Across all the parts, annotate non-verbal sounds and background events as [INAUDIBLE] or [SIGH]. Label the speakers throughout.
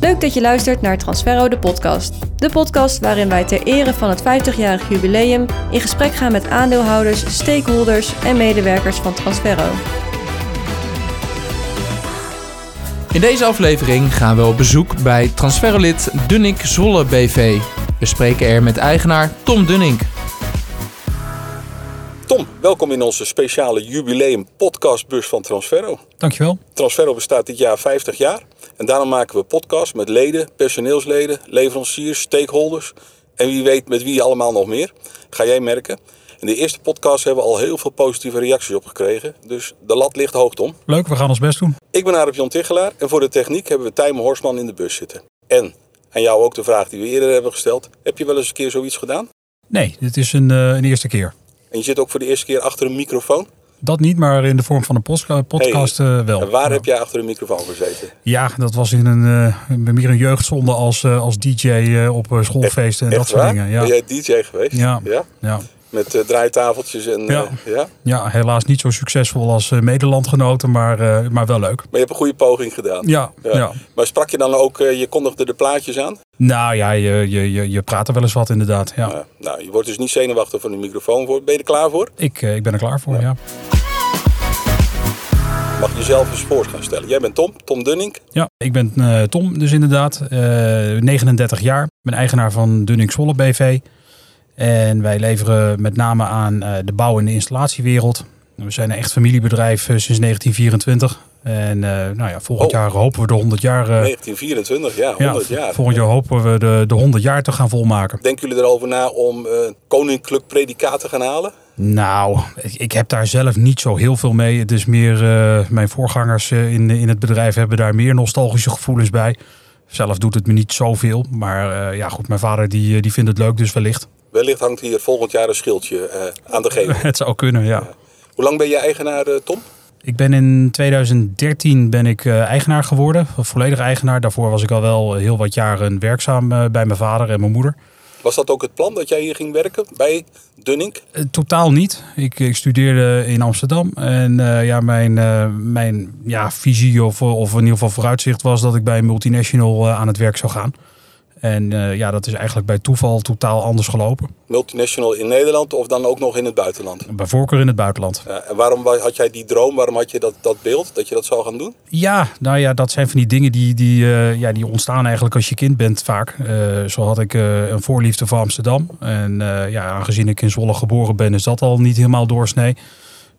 Speaker 1: Leuk dat je luistert naar Transferro de podcast. De podcast waarin wij ter ere van het 50-jarig jubileum in gesprek gaan met aandeelhouders, stakeholders en medewerkers van Transferro.
Speaker 2: In deze aflevering gaan we op bezoek bij transferolid Dunnik Zwolle BV. We spreken er met eigenaar Tom Dunning.
Speaker 3: Tom, welkom in onze speciale jubileum podcastbus van Transferro.
Speaker 4: Dankjewel.
Speaker 3: Transferro bestaat dit jaar 50 jaar en daarom maken we podcasts met leden, personeelsleden, leveranciers, stakeholders en wie weet met wie allemaal nog meer. Ga jij merken. In de eerste podcast hebben we al heel veel positieve reacties op gekregen, dus de lat ligt hoog, Tom.
Speaker 4: Leuk, we gaan ons best doen.
Speaker 3: Ik ben Arep Jan Tichelaar en voor de techniek hebben we Tijmen Horsman in de bus zitten. En, aan jou ook de vraag die we eerder hebben gesteld, heb je wel eens een keer zoiets gedaan?
Speaker 4: Nee, dit is een, eh, een eerste keer.
Speaker 3: En je zit ook voor de eerste keer achter een microfoon?
Speaker 4: Dat niet, maar in de vorm van een postka- podcast eh, wel.
Speaker 3: En waar
Speaker 4: Ja.
Speaker 3: heb jij achter een microfoon gezeten?
Speaker 4: Ja, dat was in een, eh, meer een jeugdzonde als, eh, als DJ eh, op eh, schoolfeesten en
Speaker 3: Echt
Speaker 4: dat soort
Speaker 3: waar?
Speaker 4: dingen. Ja.
Speaker 3: Ben jij DJ geweest?
Speaker 4: Ja. Ja.
Speaker 3: Met eh, draaitafeltjes en...
Speaker 4: Ja.
Speaker 3: eh, ja.
Speaker 4: ja, helaas niet zo succesvol als eh, medelandgenoten, maar, eh, maar wel leuk.
Speaker 3: Maar je hebt een goede poging gedaan.
Speaker 4: Ja, ja.
Speaker 3: Maar sprak je dan ook, eh, je kondigde de plaatjes aan?
Speaker 4: Nou ja, je, je, je, je praat er wel eens wat inderdaad. Ja.
Speaker 3: Ja. Nou, je wordt dus niet zenuwachtig van de microfoon. Voor. Ben je er klaar voor?
Speaker 4: Ik, eh, ik ben er klaar voor, ja.
Speaker 3: Mag je jezelf eens voor gaan stellen. Jij bent Tom, Tom Dunning.
Speaker 4: Ja, ik ben eh, Tom dus inderdaad, eh, 39 jaar. Ik ben eigenaar van Dunning Zwolle BV. En wij leveren met name aan eh, de bouw- en de installatiewereld. We zijn een echt familiebedrijf eh, sinds 1924. En eh, nou ja, volgend
Speaker 3: Oh.
Speaker 4: jaar hopen we de 100 jaar... eh,
Speaker 3: 1924, ja,
Speaker 4: ja,
Speaker 3: 100 jaar.
Speaker 4: Volgend jaar hopen we de, de 100 jaar te gaan volmaken.
Speaker 3: Denken jullie erover na om eh, koninklijk predicaat te gaan halen?
Speaker 4: Nou, ik- ik heb daar zelf niet zo heel veel mee. Het is meer, eh, mijn voorgangers eh, in, in het bedrijf hebben daar meer nostalgische gevoelens bij. Zelf doet het me niet zoveel. Maar eh, ja, goed, mijn vader die, eh, die vindt het leuk, dus wellicht. [LAUGHS]
Speaker 3: Wellicht hangt hier volgend jaar een schildje eh, aan de gevel.
Speaker 4: Het zou kunnen, ja.
Speaker 3: Hoe lang ben je eigenaar, eh, Tom?
Speaker 4: Ik ben in 2013 ben ik eh, eigenaar geworden, volledig eigenaar. Daarvoor was ik al wel heel wat jaren werkzaam eh, bij mijn vader en mijn moeder.
Speaker 3: Was dat ook het plan dat jij hier ging werken bij Dunning?
Speaker 4: Eh, Totaal niet. Ik, ik studeerde in Amsterdam. En eh, ja, mijn, eh, mijn ja, visie of, of in ieder geval vooruitzicht was dat ik bij een multinational eh, aan het werk zou gaan. En eh, ja, dat is eigenlijk bij toeval totaal anders gelopen.
Speaker 3: multinational in Nederland of dan ook nog in het buitenland?
Speaker 4: Bij voorkeur in het buitenland.
Speaker 3: Ja, en waarom wa- had jij die droom, waarom had je dat, dat beeld, dat je dat zou gaan doen?
Speaker 4: Ja, nou ja, dat zijn van die dingen die, die, eh, ja, die ontstaan eigenlijk als je kind bent vaak. Eh, zo had ik eh, een voorliefde voor Amsterdam. En eh, ja, aangezien ik in Zwolle geboren ben, is dat al niet helemaal doorsnee.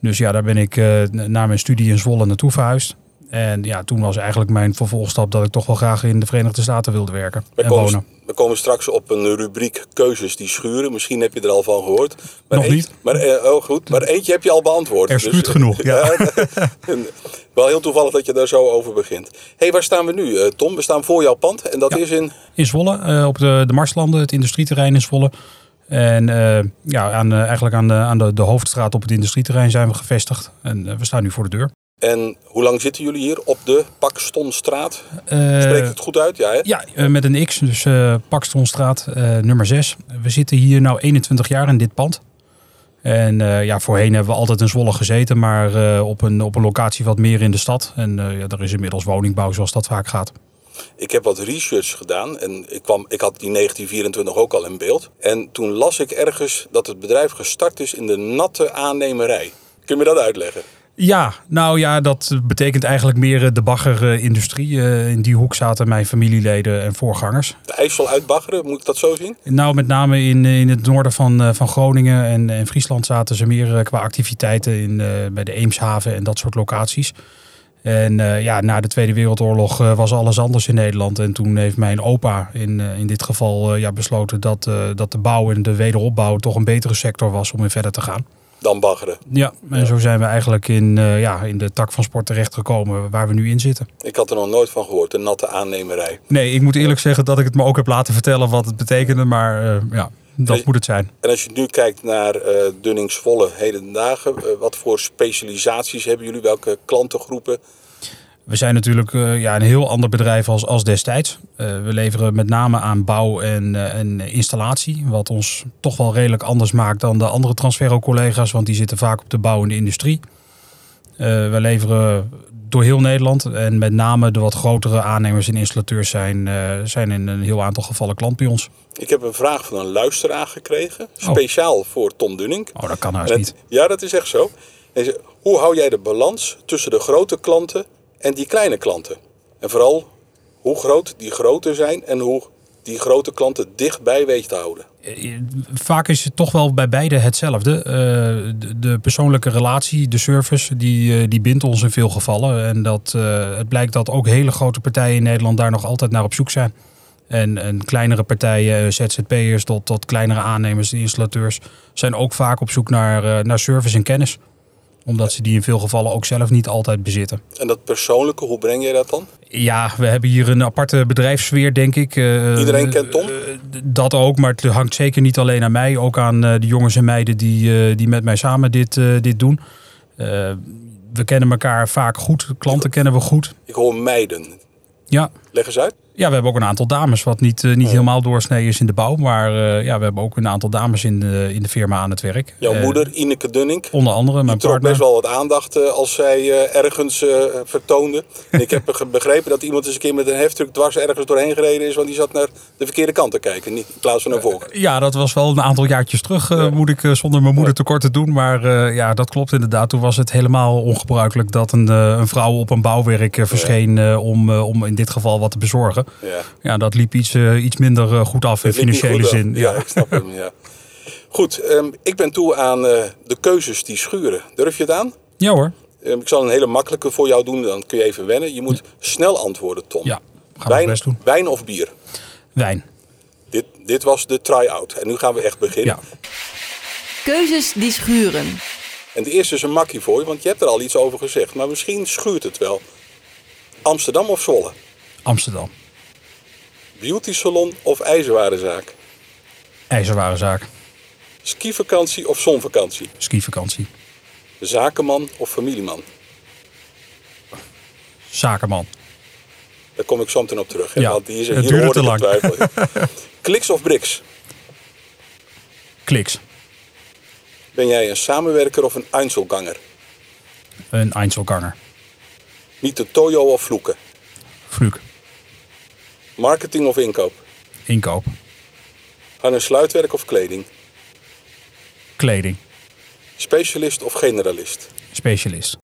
Speaker 4: Dus ja, daar ben ik eh, na mijn studie in Zwolle naartoe verhuisd. En ja, toen was eigenlijk mijn vervolgstap dat ik toch wel graag in de Verenigde Staten wilde werken
Speaker 3: We
Speaker 4: en
Speaker 3: komen,
Speaker 4: wonen.
Speaker 3: we komen straks op een rubriek keuzes die schuren. Misschien heb je er al van gehoord. Maar
Speaker 4: Nog
Speaker 3: eentje-
Speaker 4: niet.
Speaker 3: Maar, eh, oh goed, maar eentje heb je al beantwoord.
Speaker 4: Er
Speaker 3: Dus-
Speaker 4: schuurt genoeg, ja.
Speaker 3: [LAUGHS] en wel heel toevallig dat je daar zo over begint. Hé, hey, waar staan we nu, eh, Tom? We staan voor jouw pand en dat is in...
Speaker 4: In Zwolle, eh, op de, de Marslanden, het industrieterrein in Zwolle. En eh, ja, aan, eh, eigenlijk aan, de, aan de, de hoofdstraat op het industrieterrein zijn we gevestigd. En eh, we staan nu voor de deur.
Speaker 3: En hoe lang zitten jullie hier op de Pakstonstraat?
Speaker 4: Eh,
Speaker 3: Spreek ik het goed uit? Ja, hè?
Speaker 4: Ja, eh, met een X, dus eh Pakstonstraat eh, nummer 6. We zitten hier nu 21 jaar in dit pand. En eh, ja, voorheen hebben we altijd in Zwolle gezeten, maar eh, op, een, op een locatie wat meer in de stad. En eh, ja, er is inmiddels woningbouw zoals dat vaak gaat.
Speaker 3: Ik heb wat research gedaan en ik, kwam, ik had die 1924 ook al in beeld. En toen las ik ergens dat het bedrijf gestart is in de natte aannemerij. Kun je me dat uitleggen?
Speaker 4: Ja, nou ja, dat betekent eigenlijk meer eh, de baggerindustrie. Eh, in die hoek zaten mijn familieleden en voorgangers.
Speaker 3: De IJssel uitbaggeren, moet ik dat zo zien?
Speaker 4: Nou, met name in, in het noorden van, eh, van Groningen en, en Friesland zaten ze meer eh, qua activiteiten in, eh, bij de Eemshaven en dat soort locaties. En eh, ja, na de Tweede Wereldoorlog eh, was alles anders in Nederland. En toen heeft mijn opa in, eh, in dit geval eh, ja, besloten dat, eh, dat de bouw en de wederopbouw toch een betere sector was om in verder te gaan.
Speaker 3: Dan baggeren.
Speaker 4: Ja, en zo zijn we eigenlijk in, eh, ja, in de tak van sport terechtgekomen waar we nu in zitten.
Speaker 3: Ik had er nog nooit van gehoord, de natte aannemerij.
Speaker 4: Nee, ik moet eerlijk zeggen dat ik het me ook heb laten vertellen wat het betekende. Maar eh, ja,
Speaker 3: Nee.
Speaker 4: dat moet het zijn.
Speaker 3: En als je nu kijkt naar eh Dunning Zwolle heden ten dagen, eh, wat voor specialisaties hebben jullie? Welke klantengroepen?
Speaker 4: We zijn natuurlijk eh, ja, een heel ander bedrijf als, als destijds. Eh, we leveren met name aan bouw en, eh, en installatie. Wat ons toch wel redelijk anders maakt dan de andere Transferro-collega's. Want die zitten vaak op de bouw en de industrie. Eh, we leveren door heel Nederland. En met name de wat grotere aannemers en installateurs zijn, eh, zijn in een heel aantal gevallen klant bij ons.
Speaker 3: Ik heb een vraag van een luisteraar gekregen. Speciaal voor Tom Dunning.
Speaker 4: Oh, dat kan
Speaker 3: En
Speaker 4: haast
Speaker 3: het-
Speaker 4: niet.
Speaker 3: Ja, dat is echt zo. En ze- hoe hou jij de balans tussen de grote klanten en die kleine klanten? En vooral hoe groot die groter zijn en hoe die grote klanten dichtbij weet te houden.
Speaker 4: Eh, vaak is het toch wel bij beide hetzelfde. Eh, de, de persoonlijke relatie, de service, die, eh, die bindt ons in veel gevallen. En dat, eh, het blijkt dat ook hele grote partijen in Nederland daar nog altijd naar op zoek zijn. En, en kleinere partijen, eh, ZZP'ers tot, tot kleinere aannemers, installateurs, zijn ook vaak op zoek naar, eh, naar service en kennis. Omdat ze die in veel gevallen ook zelf niet altijd bezitten.
Speaker 3: En dat persoonlijke, hoe breng jij dat dan?
Speaker 4: Ja, we hebben hier een aparte bedrijfssfeer, denk ik. Eh,
Speaker 3: Iedereen kent Tom?
Speaker 4: eh, d- dat ook, maar het hangt zeker niet alleen aan mij. Ook aan eh, de jongens en meiden die, eh, die met mij samen dit, eh, dit doen. Eh, we kennen elkaar vaak goed. Klanten kennen we goed.
Speaker 3: Ik hoor meiden.
Speaker 4: Ja,
Speaker 3: Leg eens uit.
Speaker 4: ja we hebben ook een aantal dames. Wat niet, eh, niet helemaal doorsnee is in de bouw. Maar eh, ja, we hebben ook een aantal dames in de, in de firma aan het werk.
Speaker 3: Jouw
Speaker 4: Eh, nou.
Speaker 3: moeder, Ineke Dunning,
Speaker 4: Onder andere mijn
Speaker 3: die trok
Speaker 4: partner.
Speaker 3: best wel wat aandacht eh, als zij eh, ergens eh, vertoonde. En
Speaker 4: [LAUGHS]
Speaker 3: ik heb ge- begrepen dat iemand eens een keer met een heftruck dwars ergens doorheen gereden is, want die zat naar de verkeerde kant te kijken, niet in plaats van naar voren.
Speaker 4: Ja, dat was wel een aantal jaartjes terug, eh, moet ik eh, zonder mijn moeder tekort te doen. Maar eh, ja, dat klopt inderdaad. Toen was het helemaal ongebruikelijk dat een, eh, een vrouw op een bouwwerk eh, verscheen eh, om, eh, om in dit geval wat te bezorgen.
Speaker 3: Ja.
Speaker 4: Ja, dat liep iets, eh, iets minder eh, goed af in
Speaker 3: Dat liep niet
Speaker 4: financiële
Speaker 3: goed af.
Speaker 4: zin.
Speaker 3: Ja, ik snap hem, ja. Goed, ehm, ik ben toe aan eh, de keuzes die schuren. Durf je het aan?
Speaker 4: ja hoor.
Speaker 3: Ehm, ik zal een hele makkelijke voor jou doen, dan kun je even wennen. Je moet snel antwoorden, Tom.
Speaker 4: Ja, gaan we
Speaker 3: wijn,
Speaker 4: het best doen.
Speaker 3: wijn of bier?
Speaker 4: Wijn.
Speaker 3: Dit, dit was de try-out. En nu gaan we echt beginnen.
Speaker 4: Ja.
Speaker 1: Keuzes die schuren.
Speaker 3: En de eerste is een makkie voor je, want je hebt er al iets over gezegd. Maar misschien schuurt het wel. Amsterdam of Zwolle?
Speaker 4: Amsterdam.
Speaker 3: Beauty salon of ijzerwarenzaak?
Speaker 4: IJzerwarenzaak.
Speaker 3: Skivakantie of zonvakantie?
Speaker 4: Skivakantie.
Speaker 3: Zakenman of familieman?
Speaker 4: Zakenman.
Speaker 3: Daar kom ik zo meteen op terug. hè,
Speaker 4: Ja,
Speaker 3: want die is
Speaker 4: het
Speaker 3: hier
Speaker 4: duurde
Speaker 3: hoor
Speaker 4: te
Speaker 3: ik
Speaker 4: lang.
Speaker 3: twijfel.
Speaker 4: [LAUGHS]
Speaker 3: Kliks of Brix?
Speaker 4: Kliks.
Speaker 3: Ben jij een samenwerker of een Einzelganger?
Speaker 4: Een Einzelganger.
Speaker 3: Niet de Toyo of vloeken?
Speaker 4: Vluk.
Speaker 3: Marketing of inkoop?
Speaker 4: Inkoop.
Speaker 3: Aan een sluitwerk of kleding?
Speaker 4: Kleding.
Speaker 3: Specialist of generalist?
Speaker 4: Specialist.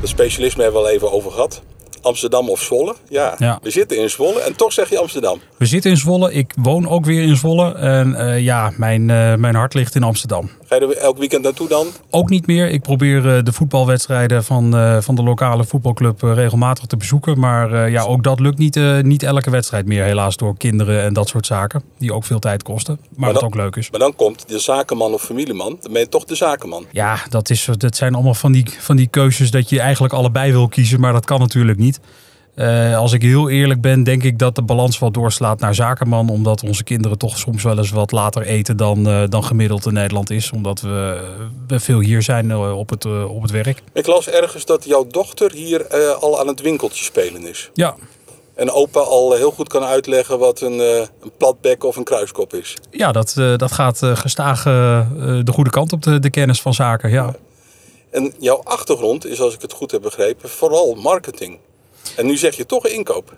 Speaker 3: Dat specialisme hebben we al even over gehad. Amsterdam of Zwolle? Ja,
Speaker 4: Ja.
Speaker 3: we zitten in Zwolle en toch zeg je Amsterdam.
Speaker 4: We zitten in Zwolle. Ik woon ook weer in Zwolle. En eh, ja, mijn, eh, mijn hart ligt in Amsterdam.
Speaker 3: Ga je er elk weekend naartoe dan?
Speaker 4: Ook niet meer. Ik probeer eh, de voetbalwedstrijden van, eh, van de lokale voetbalclub eh, regelmatig te bezoeken. Maar eh, ja, ook dat lukt niet, eh, niet elke wedstrijd meer. Helaas door kinderen en dat soort zaken. Die ook veel tijd kosten. Maar, wat
Speaker 3: dat-
Speaker 4: ook leuk is.
Speaker 3: Maar dan komt de zakenman of familieman, dan ben je toch de zakenman.
Speaker 4: Ja, dat, is, dat zijn allemaal van die, van die keuzes dat je eigenlijk allebei wil kiezen. Maar dat kan natuurlijk niet. Eh, als ik heel eerlijk ben, denk ik dat de balans wat doorslaat naar zakenman. Omdat onze kinderen toch soms wel eens wat later eten dan, eh, dan gemiddeld in Nederland is. Omdat we, we veel hier zijn eh, op, het, eh, op het werk.
Speaker 3: Ik las ergens dat jouw dochter hier eh, al aan het winkeltje spelen is.
Speaker 4: Ja,
Speaker 3: En opa al eh, heel goed kan uitleggen wat een, eh, een platbek of een kruiskop is.
Speaker 4: ja dat, eh, dat gaat eh, gestaag eh, eh, de goede kant op, de, de kennis van zaken. Ja.
Speaker 3: En jouw achtergrond is, als ik het goed heb begrepen, vooral marketing. En nu zeg je toch inkoop.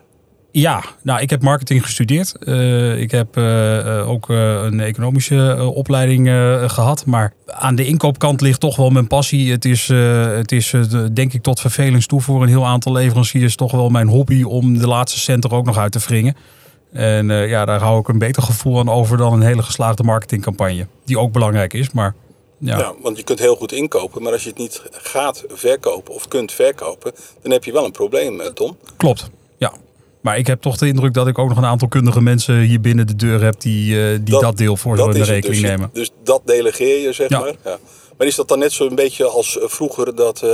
Speaker 4: Ja, nou, ik heb marketing gestudeerd. Eh, ik heb eh, eh, ook eh, een economische eh, opleiding eh, gehad. Maar aan de inkoopkant ligt toch wel mijn passie. Het is, eh, het is eh, de- denk ik tot vervelings toe voor een heel aantal leveranciers toch wel mijn hobby om de laatste cent er ook nog uit te wringen. En eh, ja, daar hou ik een beter gevoel aan over dan een hele geslaagde marketingcampagne. Die ook belangrijk is, maar ja.
Speaker 3: Ja, want je kunt heel goed inkopen, maar als je het niet gaat verkopen of kunt verkopen, dan heb je wel een probleem, eh, Tom.
Speaker 4: Klopt, ja. Maar ik heb toch de indruk dat ik ook nog een aantal kundige mensen hier binnen de deur heb die eh, die dat, deel voor zo in de
Speaker 3: is het
Speaker 4: rekening
Speaker 3: dus,
Speaker 4: nemen.
Speaker 3: Dus dat delegeer je, zeg
Speaker 4: Ja.
Speaker 3: maar. Ja. Maar is dat dan net zo'n beetje als eh, vroeger dat eh,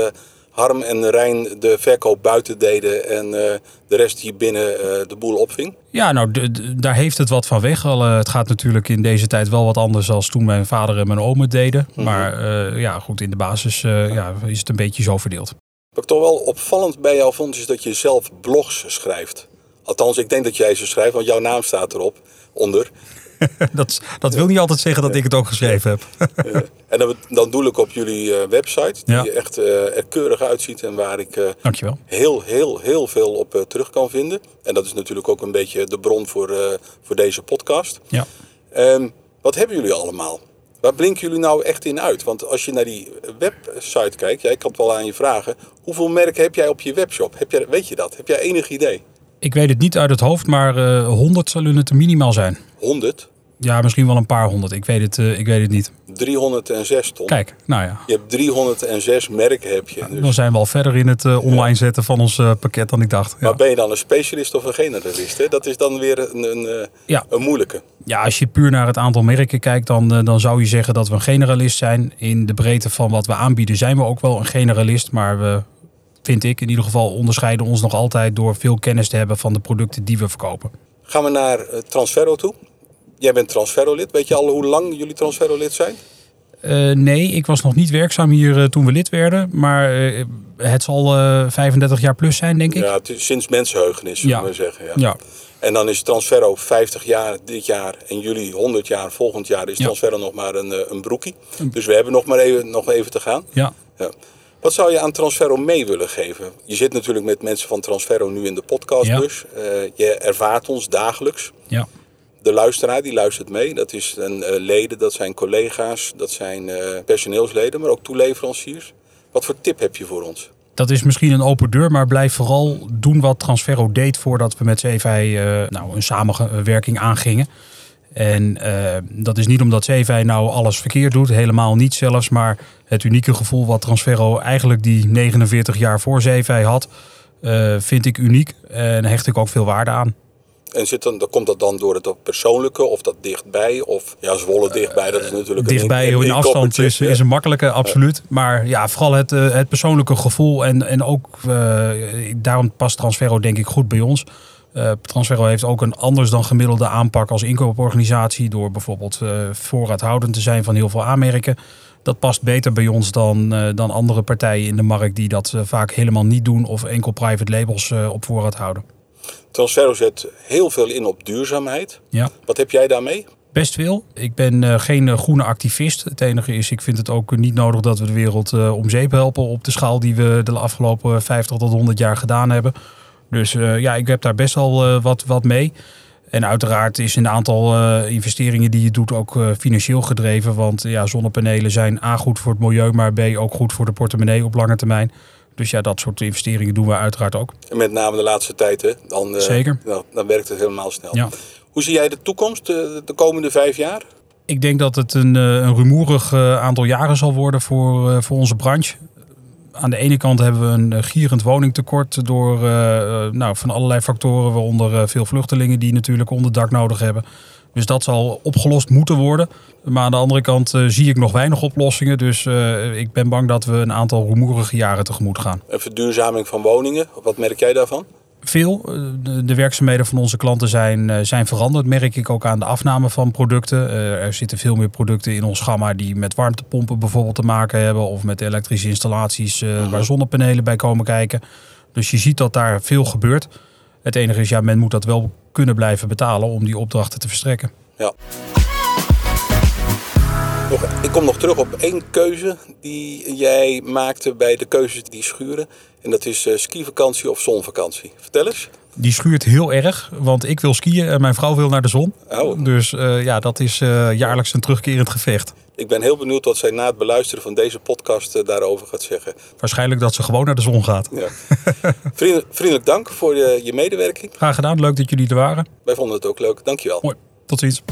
Speaker 3: Harm en Rijn de verkoop buiten deden en eh, de rest hier binnen eh, de boel opving?
Speaker 4: Ja, nou, d- d- daar heeft het wat van weg. Al, eh, het gaat natuurlijk in deze tijd wel wat anders dan toen mijn vader en mijn oom het deden.
Speaker 3: Mhm.
Speaker 4: Maar eh, ja, goed, in de basis eh, ja, is het een beetje zo verdeeld. [LAUGHS]
Speaker 3: Wat ik toch wel opvallend bij jou vond, is dat je zelf blogs schrijft. Althans, ik denk dat jij ze schrijft, want jouw naam staat erop onder.
Speaker 4: dat, is- dat wil niet altijd zeggen dat ik het ook geschreven heb.
Speaker 3: Eh, en dan, dan doel ik op jullie eh, website, die
Speaker 4: Ja.
Speaker 3: er echt eh, er keurig uitziet en waar ik eh,
Speaker 4: Dankjewel.
Speaker 3: heel, heel, heel veel op eh, terug kan vinden. En dat is natuurlijk ook een beetje de bron voor, eh, voor deze podcast.
Speaker 4: Ja.
Speaker 3: Ehm, wat hebben jullie allemaal? Waar blinken jullie nou echt in uit? Want als je naar die website kijkt, jij kan het wel aan je vragen. Hoeveel merken heb jij op je webshop? Heb jij, weet je dat? Heb jij enig idee?
Speaker 4: Ik weet het niet uit het hoofd, maar eh 100 zullen het minimaal zijn.
Speaker 3: 100,
Speaker 4: Ja, misschien wel een paar honderd. Ik weet het, eh, ik weet het niet.
Speaker 3: 306 ton.
Speaker 4: Kijk, nou ja.
Speaker 3: Je hebt 306 merken heb je. Dus-
Speaker 4: Dan zijn we al verder in het eh, online zetten van ons eh, pakket dan ik dacht. Ja.
Speaker 3: Maar ben je dan een specialist of een generalist? Hè? Dat is dan weer een, een, eh,
Speaker 4: Ja.
Speaker 3: een moeilijke.
Speaker 4: ja, als je puur naar het aantal merken kijkt, dan, eh, dan zou je zeggen dat we een generalist zijn. In de breedte van wat we aanbieden zijn we ook wel een generalist. Maar we, vind ik in ieder geval, onderscheiden ons nog altijd door veel kennis te hebben van de producten die we verkopen.
Speaker 3: Gaan we naar eh, Transferro toe. Jij bent Transferro-lid. Weet je al hoe lang jullie Transferro-lid zijn?
Speaker 4: Eh, nee, ik was nog niet werkzaam hier eh, toen we lid werden. Maar eh, het zal eh, 35 jaar plus zijn, denk ik.
Speaker 3: Ja, het is sinds mensenheugenis, zullen
Speaker 4: Ja.
Speaker 3: we zeggen. Ja.
Speaker 4: Ja.
Speaker 3: En dan is Transferro 50 jaar dit jaar en jullie 100 jaar volgend jaar is
Speaker 4: Ja.
Speaker 3: Transferro nog maar een, eh, een broekie. Dus we hebben nog maar even, nog even te gaan.
Speaker 4: ja.
Speaker 3: Ja. Wat zou je aan Transferro mee willen geven? Je zit natuurlijk met mensen van Transferro nu in de podcastbus. Eh, je ervaart ons dagelijks.
Speaker 4: ja.
Speaker 3: De luisteraar die luistert mee, dat is een, eh, leden, dat zijn collega's, dat zijn eh, personeelsleden, maar ook toeleveranciers. Wat voor tip heb je voor ons?
Speaker 4: Dat is misschien een open deur, maar blijf vooral doen wat Transferro deed voordat we met CVI eh nou, een samenwerking aangingen. En eh, dat is niet omdat CVI nou alles verkeerd doet, helemaal niet zelfs. Maar het unieke gevoel wat Transferro eigenlijk die 49 jaar voor CVI had, eh, vind ik uniek. En hecht ik ook veel waarde aan.
Speaker 3: En zit dan, dan komt dat dan door het persoonlijke of dat dichtbij? Of ja, Zwolle dichtbij, dat is natuurlijk een
Speaker 4: Eh, Dichtbij,
Speaker 3: een- een
Speaker 4: in afstand
Speaker 3: inkoppertje.
Speaker 4: is, is een makkelijke, absoluut. Maar ja, vooral het, eh, het persoonlijke gevoel. En, en ook, eh, daarom past Transferro denk ik goed bij ons. Eh Transferro heeft ook een anders dan gemiddelde aanpak als inkooporganisatie. Door bijvoorbeeld eh, voorraadhoudend te zijn van heel veel aanmerken. Dat past beter bij ons dan, eh, dan andere partijen in de markt die dat eh, vaak helemaal niet doen. Of enkel private labels eh, op voorraad houden.
Speaker 3: Transferro zet heel veel in op duurzaamheid.
Speaker 4: Ja.
Speaker 3: Wat heb jij daarmee?
Speaker 4: Best veel. Ik ben eh, geen eh, groene activist. Het enige is, ik vind het ook niet nodig dat we de wereld eh, om zeep helpen op de schaal die we de afgelopen 50 tot 100 jaar gedaan hebben. Dus eh, ja, ik heb daar best al eh, wat, wat mee. En uiteraard is een aantal eh, investeringen die je doet ook eh, financieel gedreven. Want ja, zonnepanelen zijn A goed voor het milieu, maar B ook goed voor de portemonnee op lange termijn. Dus ja, dat soort investeringen doen we uiteraard ook.
Speaker 3: En met name de laatste tijd, hè? Dan, eh,
Speaker 4: Zeker.
Speaker 3: Dan, dan werkt het helemaal snel.
Speaker 4: Ja.
Speaker 3: Hoe zie jij de toekomst eh, de komende vijf jaar?
Speaker 4: Ik denk dat het een, eh, een rumoerig eh, aantal jaren zal worden voor, eh, voor onze branche. Aan de ene kant hebben we een eh, gierend woningtekort door eh, eh, nou, van allerlei factoren, waaronder eh, veel vluchtelingen die natuurlijk onderdak nodig hebben. Dus dat zal opgelost moeten worden. Maar aan de andere kant eh, zie ik nog weinig oplossingen. Dus eh, ik ben bang dat we een aantal rumoerige jaren tegemoet gaan
Speaker 3: Een verduurzaming van woningen, wat merk jij daarvan?
Speaker 4: veel. Eh, De, de werkzaamheden van onze klanten zijn, eh, zijn veranderd. Merk ik ook aan de afname van producten. Eh, Er zitten veel meer producten in ons gamma die met warmtepompen bijvoorbeeld te maken hebben. Of met elektrische installaties eh, waar zonnepanelen bij komen kijken. Dus je ziet dat daar veel gebeurt. Het enige is, ja, men moet dat wel kunnen blijven betalen om die opdrachten te verstrekken.
Speaker 3: Ja. Nog, ik kom nog terug op één keuze die jij maakte bij de keuzes die schuren. En dat is eh, skivakantie of zonvakantie. Vertel eens.
Speaker 4: Die schuurt heel erg, want ik wil skiën en mijn vrouw wil naar de zon.
Speaker 3: Oh.
Speaker 4: Dus eh, ja, dat is eh, jaarlijks een terugkerend gevecht.
Speaker 3: Ik ben heel benieuwd wat zij na het beluisteren van deze podcast eh, daarover gaat zeggen.
Speaker 4: Waarschijnlijk dat ze gewoon naar de zon gaat. [LAUGHS]
Speaker 3: Ja. Vriendelijk, vriendelijk dank voor eh, je medewerking.
Speaker 4: Graag gedaan, leuk dat jullie er waren.
Speaker 3: Wij vonden het ook leuk. Dankjewel.
Speaker 4: Mooi, tot ziens.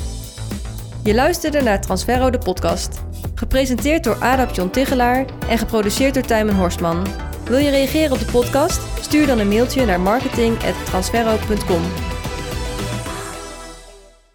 Speaker 1: Je luisterde naar Transferro de podcast. Gepresenteerd door Adap John Tigelaar en geproduceerd door Tijmen Horstman. Wil je reageren op de podcast? Stuur dan een mailtje naar marketing.transferro.com.